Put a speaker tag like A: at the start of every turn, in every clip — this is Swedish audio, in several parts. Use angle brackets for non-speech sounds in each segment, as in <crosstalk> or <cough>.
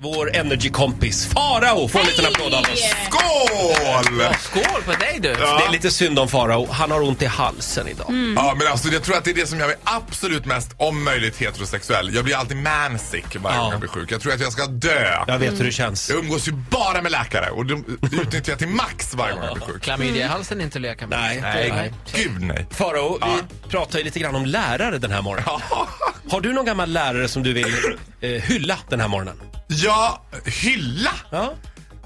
A: Vår energikompis Farao får en liten applåd av oss.
B: Skål!
C: Skål på dig du!
A: Det är lite synd om Farao, han har ont i halsen idag.
B: Ja, men alltså, jag tror att det är det som gör mig absolut mest om möjligt heterosexuell. Jag blir alltid mansick varje gång jag blir sjuk. Jag tror att jag ska dö.
A: Jag vet hur det känns.
B: Jag umgås ju bara med läkare och de utnyttjar jag till max varje gång jag blir sjuk.
C: Klamydia i halsen är inte att leka med.
A: Nej, nej, nej.
B: Gud nej.
A: Farao, vi pratar ju lite grann om lärare den här morgonen. Har du någon gammal lärare som du vill eh, hylla den här morgonen?
B: Ja, hylla!
A: Ja.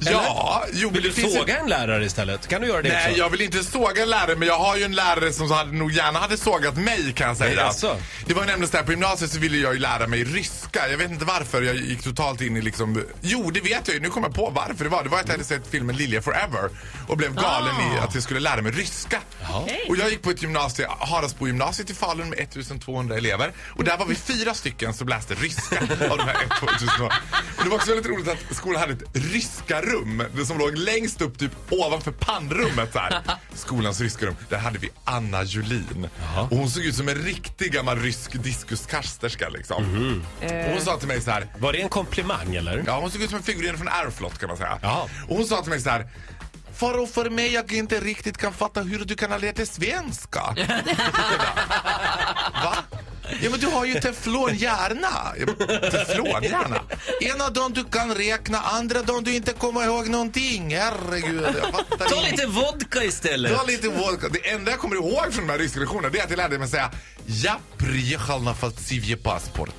B: Ja, jo, men
A: Vill du
B: det finns ju-
A: såga en lärare istället? Kan du göra det
B: Nej,
A: också?
B: jag vill inte såga en lärare, men jag har ju en lärare som så hade, nog gärna hade sågat mig kan jag säga.
A: Nej, alltså.
B: Det var nämligen så här, på gymnasiet så ville jag ju lära mig ryska. Jag vet inte varför jag gick totalt in i liksom... Jo, det vet jag ju. Nu kommer jag på varför det var. Det var att jag hade sett filmen Lilja Forever och blev galen i att jag skulle lära mig ryska. Och jag gick på ett gymnasium, Haraldsbo gymnasiet i Falun med 1200 elever. Och där var vi fyra stycken som läste ryska av de här 1200. Och det var också väldigt roligt att skolan hade ett ryska rum det som låg längst upp typ ovanför pannrummet. Så här. Skolans ryska rum. Där hade vi Anna Julin. Och hon såg ut som en riktig gammal rysk diskuskasterska liksom. Och hon sa till mig så här.
A: Var det en komplimang eller?
B: Ja, hon såg ut som en figurin från Airflot kan man säga.
A: Ja.
B: Och hon sa till mig så här. Farao, för mig jag inte riktigt kan fatta hur du kan ha lärt
A: <laughs>
B: dig svenska. Va? Ja men du har ju teflonhjärna. Jag bara, Teflonhjärna? Ena dagen du kan räkna, andra dagen du inte kommer ihåg någonting. Herregud, jag fattar
A: Ta
B: inte.
A: lite vodka istället!
B: Ta lite vodka. Det enda jag kommer ihåg från de här ryska lektionerna det är att jag lärde mig att säga Jag приехал на фальсивье паспорт.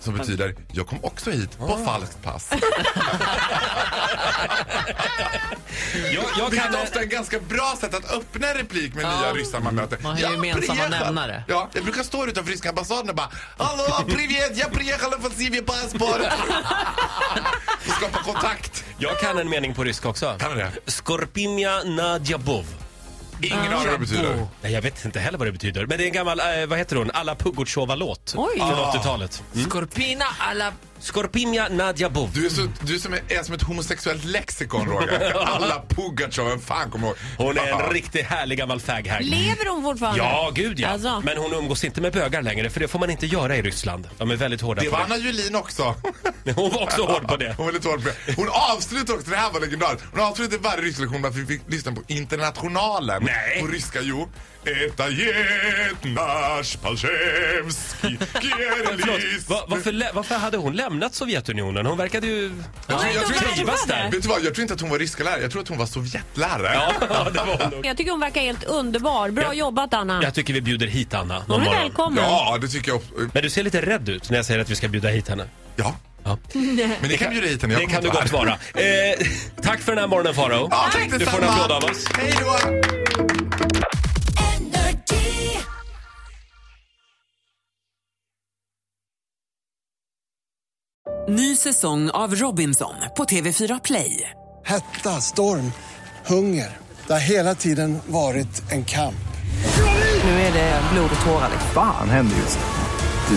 B: Som betyder jag kom också hit på
A: Ah.
B: falskt pass.
A: Jag, jag
B: Vilket
A: kan... eh,
B: är ofta är ett ganska bra sätt att öppna en replik med nya ryssar man möter.
C: Man har
B: Jag
C: gemensamma
B: приехал.
C: nämnare.
B: Ja, jag brukar stå utanför ryska ambassaden och bara Hallå, привет, jag приехал на фальсивье паспорт. Och skapa kontakt.
A: Jag kan en mening på ryska också.
B: Kan du det?
A: Skorpimia nadjabov.
B: Ingen aning vad det betyder.
A: Nej, jag vet inte heller vad det betyder. Men det är en gammal, eh, vad heter hon, Alla Pugutjova-låt.
C: Oj.
A: Från 80-talet.
C: Skorpina alla...
A: Skorpimia nadjabov.
B: Du är, så, du är, som, är som ett homosexuellt lexikon, Roger. Alla Pugatjov, vem fan kommer ihåg?
A: Hon är en riktigt härlig gammal fag
D: Lever hon fortfarande?
A: Ja, gud ja.
D: Alltså.
A: Men hon umgås inte med bögar längre, för det får man inte göra i Ryssland. De är väldigt hårda
B: Det
A: på
B: var Anna Julin också.
A: det. Hon var också hård på det.
B: <laughs> Hon var lite hård på det. Hon avslutade också, det här var legendariskt. Hon avslutade varje rysklektion med att vi fick lyssna på Internationalen.
A: Nej.
B: På ryska, jo. Eta jednash palchevskij
A: Förlåt, va, varför, lä- varför hade hon lämnat Sovjetunionen? Hon verkade ju
B: Jag tror- jag tror inte-
A: trivas där.
B: Vet du vad, jag tror inte att hon var ryskalärare, jag tror att hon var sovjetlärare.
A: Ja, det var hon nog.
D: Jag tycker hon verkar helt underbar. Bra
A: Ja.
D: jobbat Anna.
A: Jag tycker vi bjuder hit Anna. någon
D: hon är
A: morgon.
D: välkommen.
B: Ja, det tycker jag.
A: Men du ser lite rädd ut när jag säger att vi ska bjuda hit henne.
B: Ja.
A: Ja.
B: Men ni kan bjuda hit henne, jag
A: det
B: kommer
A: kan du
B: inte
A: gott vara. Eh, tack för den här morgonen Farao.
B: Ja, tack
A: du får en
B: detsamma.
A: applåd av oss.
B: Hej då!
E: Ny säsong av Robinson på TV4 Play.
F: Hetta, storm, hunger. Det har hela tiden varit en kamp.
E: Nu är det blod och tårar.
G: Fan händer just nu.